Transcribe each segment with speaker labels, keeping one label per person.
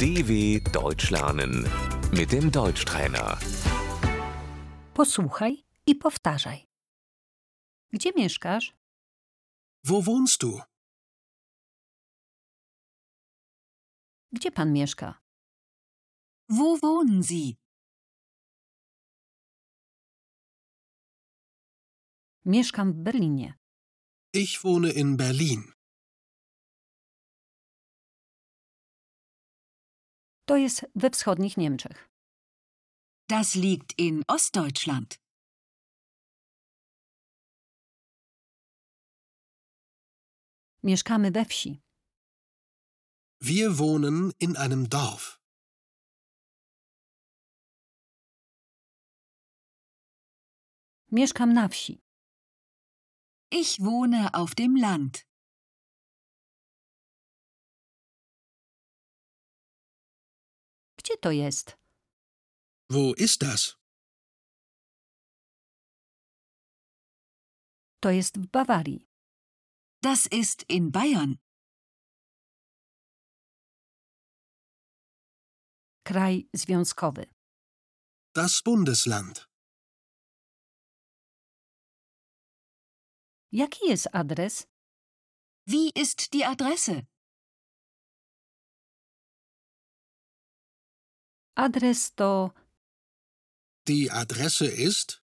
Speaker 1: DW Deutsch lernen mit dem Deutschtrainer.
Speaker 2: Posłuchaj i powtarzaj. Gdzie mieszkasz?
Speaker 3: Wo wohnst du?
Speaker 2: Gdzie pan mieszka?
Speaker 4: Wo wohnen Sie?
Speaker 2: Mieszkam w Berlinie.
Speaker 3: Ich wohne in Berlin.
Speaker 2: To jest we wschodnich Niemczech.
Speaker 4: Das liegt in Ostdeutschland.
Speaker 2: Mieszkamy we wsi.
Speaker 3: Wir wohnen in einem Dorf.
Speaker 2: Mieszkam na wsi.
Speaker 4: Ich wohne auf dem Land.
Speaker 2: Gdzie to jest?
Speaker 3: Wo ist das?
Speaker 2: To jest w Bawarii.
Speaker 4: Das ist in Bayern.
Speaker 2: Kraj związkowy.
Speaker 3: Das Bundesland.
Speaker 2: Jaki jest adres?
Speaker 4: Wie ist die Adresse?
Speaker 2: Adres to
Speaker 3: Die Adresse ist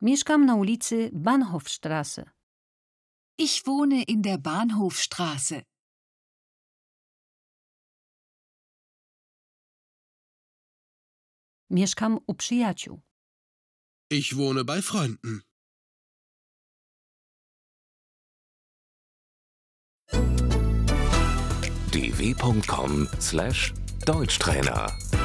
Speaker 2: mieszkam na ulicy Bahnhofstrasse.
Speaker 4: Ich wohne in der Bahnhofstraße.
Speaker 2: Mieszkam u przyjaciół.
Speaker 3: Ich wohne bei Freunden.
Speaker 1: dw.com/deutschtrainer